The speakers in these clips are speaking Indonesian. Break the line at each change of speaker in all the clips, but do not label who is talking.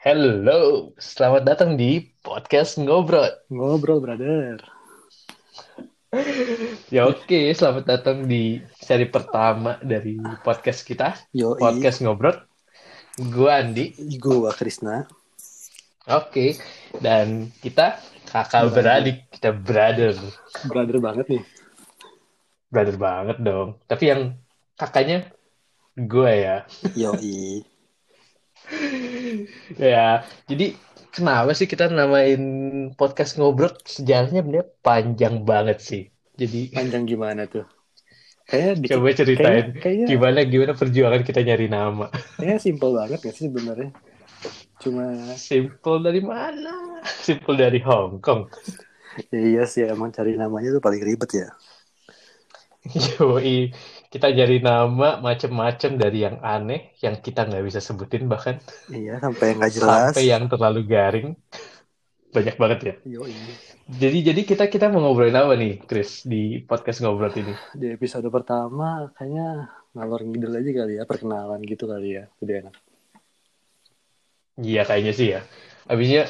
Hello, selamat datang di podcast Ngobrol.
Ngobrol, brother.
Ya oke, selamat datang di seri pertama dari podcast kita,
Yo,
podcast Ngobrol. Gue Andi,
gua Krisna.
oke, dan kita kakak
Brother.
beradik, kita brother,
Brother banget nih.
brother banget dong. Tapi yang kakaknya gue ya,
Yo,
ya. Jadi kenapa sih kita namain podcast Ngobrol? Sejarahnya bener panjang banget sih. Jadi
Panjang gimana tuh? Kayaknya dikit-
coba
kayaknya,
ceritain.
kayaknya,
gimana gimana perjuangan kita nyari nama
kayaknya simple banget gak sih sebenarnya? Cuma
simple dari mana simple dari Hong Kong
ya iya sih emang cari namanya tuh paling ribet ya.
Yoi. kita cari nama macem-macem dari yang aneh yang kita nggak bisa sebutin bahkan
Iya, sampai yang nggak jelas.
sampai ya. yang terlalu garing banyak banget ya
Yo,
jadi jadi kita kita mau ngobrolin apa nih Chris di podcast ngobrol ini
Di episode pertama kayaknya ngalor ngidul aja kali ya, perkenalan gitu kali ya. Lebih enak.
iya kayaknya sih ya abisnya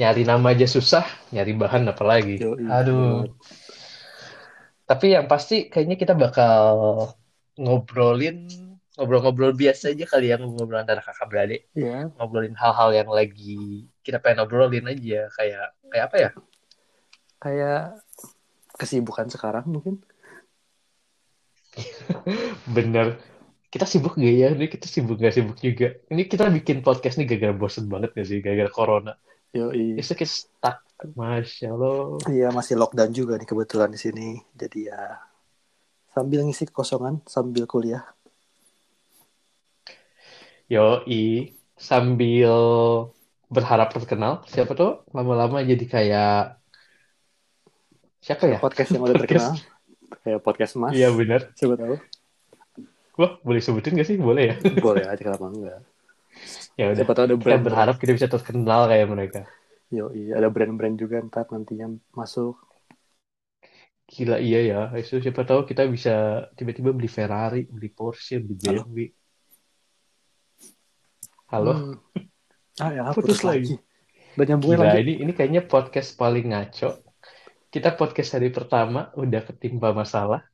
nyari nama aja susah nyari bahan apalagi
Yoi,
aduh
bener.
Tapi yang pasti kayaknya kita bakal ngobrolin ngobrol-ngobrol biasa aja kali ya ngobrol antara kakak beradik
Iya,
ngobrolin hal-hal yang lagi kita pengen ngobrolin aja kayak kayak apa ya
kayak kesibukan sekarang mungkin.
bener kita sibuk gak ya ini kita sibuk gak sibuk juga ini kita bikin podcast nih gara-gara bosen banget gak sih gara-gara corona
Yo,
itu kita stuck masya allah
Iya masih lockdown juga nih kebetulan di sini. Jadi ya sambil ngisi kekosongan sambil kuliah.
yoi sambil berharap terkenal siapa tuh lama-lama jadi kayak siapa ya
Podcast yang udah
Podcast.
terkenal. Kayak podcast Mas.
iya bener
Siapa tahu?
Wah, boleh sebutin gak sih? Boleh ya?
Boleh aja kenapa enggak.
Ya udah.
Siapa tahu ada
Kita
brand.
berharap kita bisa terkenal kayak mereka.
Yo, iya ada brand-brand juga ntar nantinya masuk.
Gila iya ya. Itu siapa tahu kita bisa tiba-tiba beli Ferrari, beli Porsche, beli
Halo?
BMW. Halo.
Hmm. Ah, ya,
Putus
putus,
lagi.
lagi. Banyak gue
Gila,
lagi.
ini ini kayaknya podcast paling ngaco. Kita podcast hari pertama udah ketimpa masalah.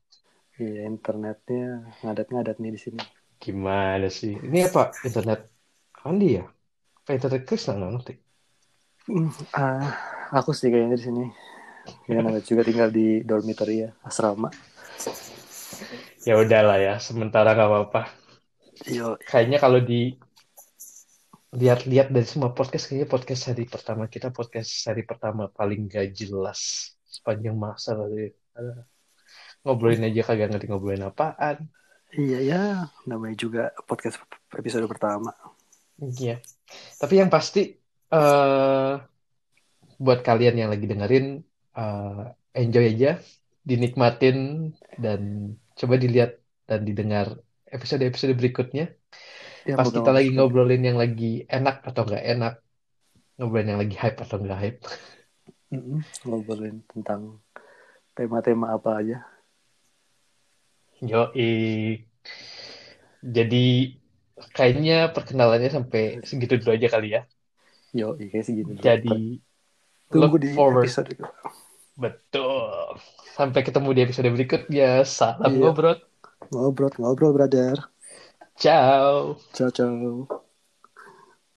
Iya, internetnya ngadat-ngadat nih di sini.
Gimana sih? Ini apa? Internet Andi ya? Apa internet Chris nggak ngerti?
Hmm, ah, aku sih kayaknya di sini. Ya, namanya juga tinggal di dormitory ya, asrama.
Ya udahlah ya, sementara nggak apa-apa.
Yo,
Kayaknya kalau di lihat-lihat dari semua podcast kayaknya podcast hari pertama kita podcast hari pertama paling gak jelas sepanjang masa kali ya. Aduh. ngobrolin aja kagak ngerti ngobrolin apaan
iya ya, namanya juga podcast episode pertama.
iya tapi yang pasti eh buat kalian yang lagi dengerin eh, enjoy aja dinikmatin dan coba dilihat dan didengar episode-episode berikutnya
Ya,
pas
moga
kita lagi
masuk.
ngobrolin yang lagi enak atau nggak enak ngobrolin yang lagi hype atau nggak hype
Mm-mm, ngobrolin tentang tema-tema apa aja.
Yoi. Jadi kayaknya perkenalannya sampai segitu dulu aja kali ya.
Yo, iya kayak segini. dulu.
Jadi
tunggu
look
di
forward.
episode
Betul. Sampai ketemu di episode berikutnya. Salam
Iya.
ngobrol.
ngobrol, ngobrol, brother.
Ciao.
Ciao, ciao.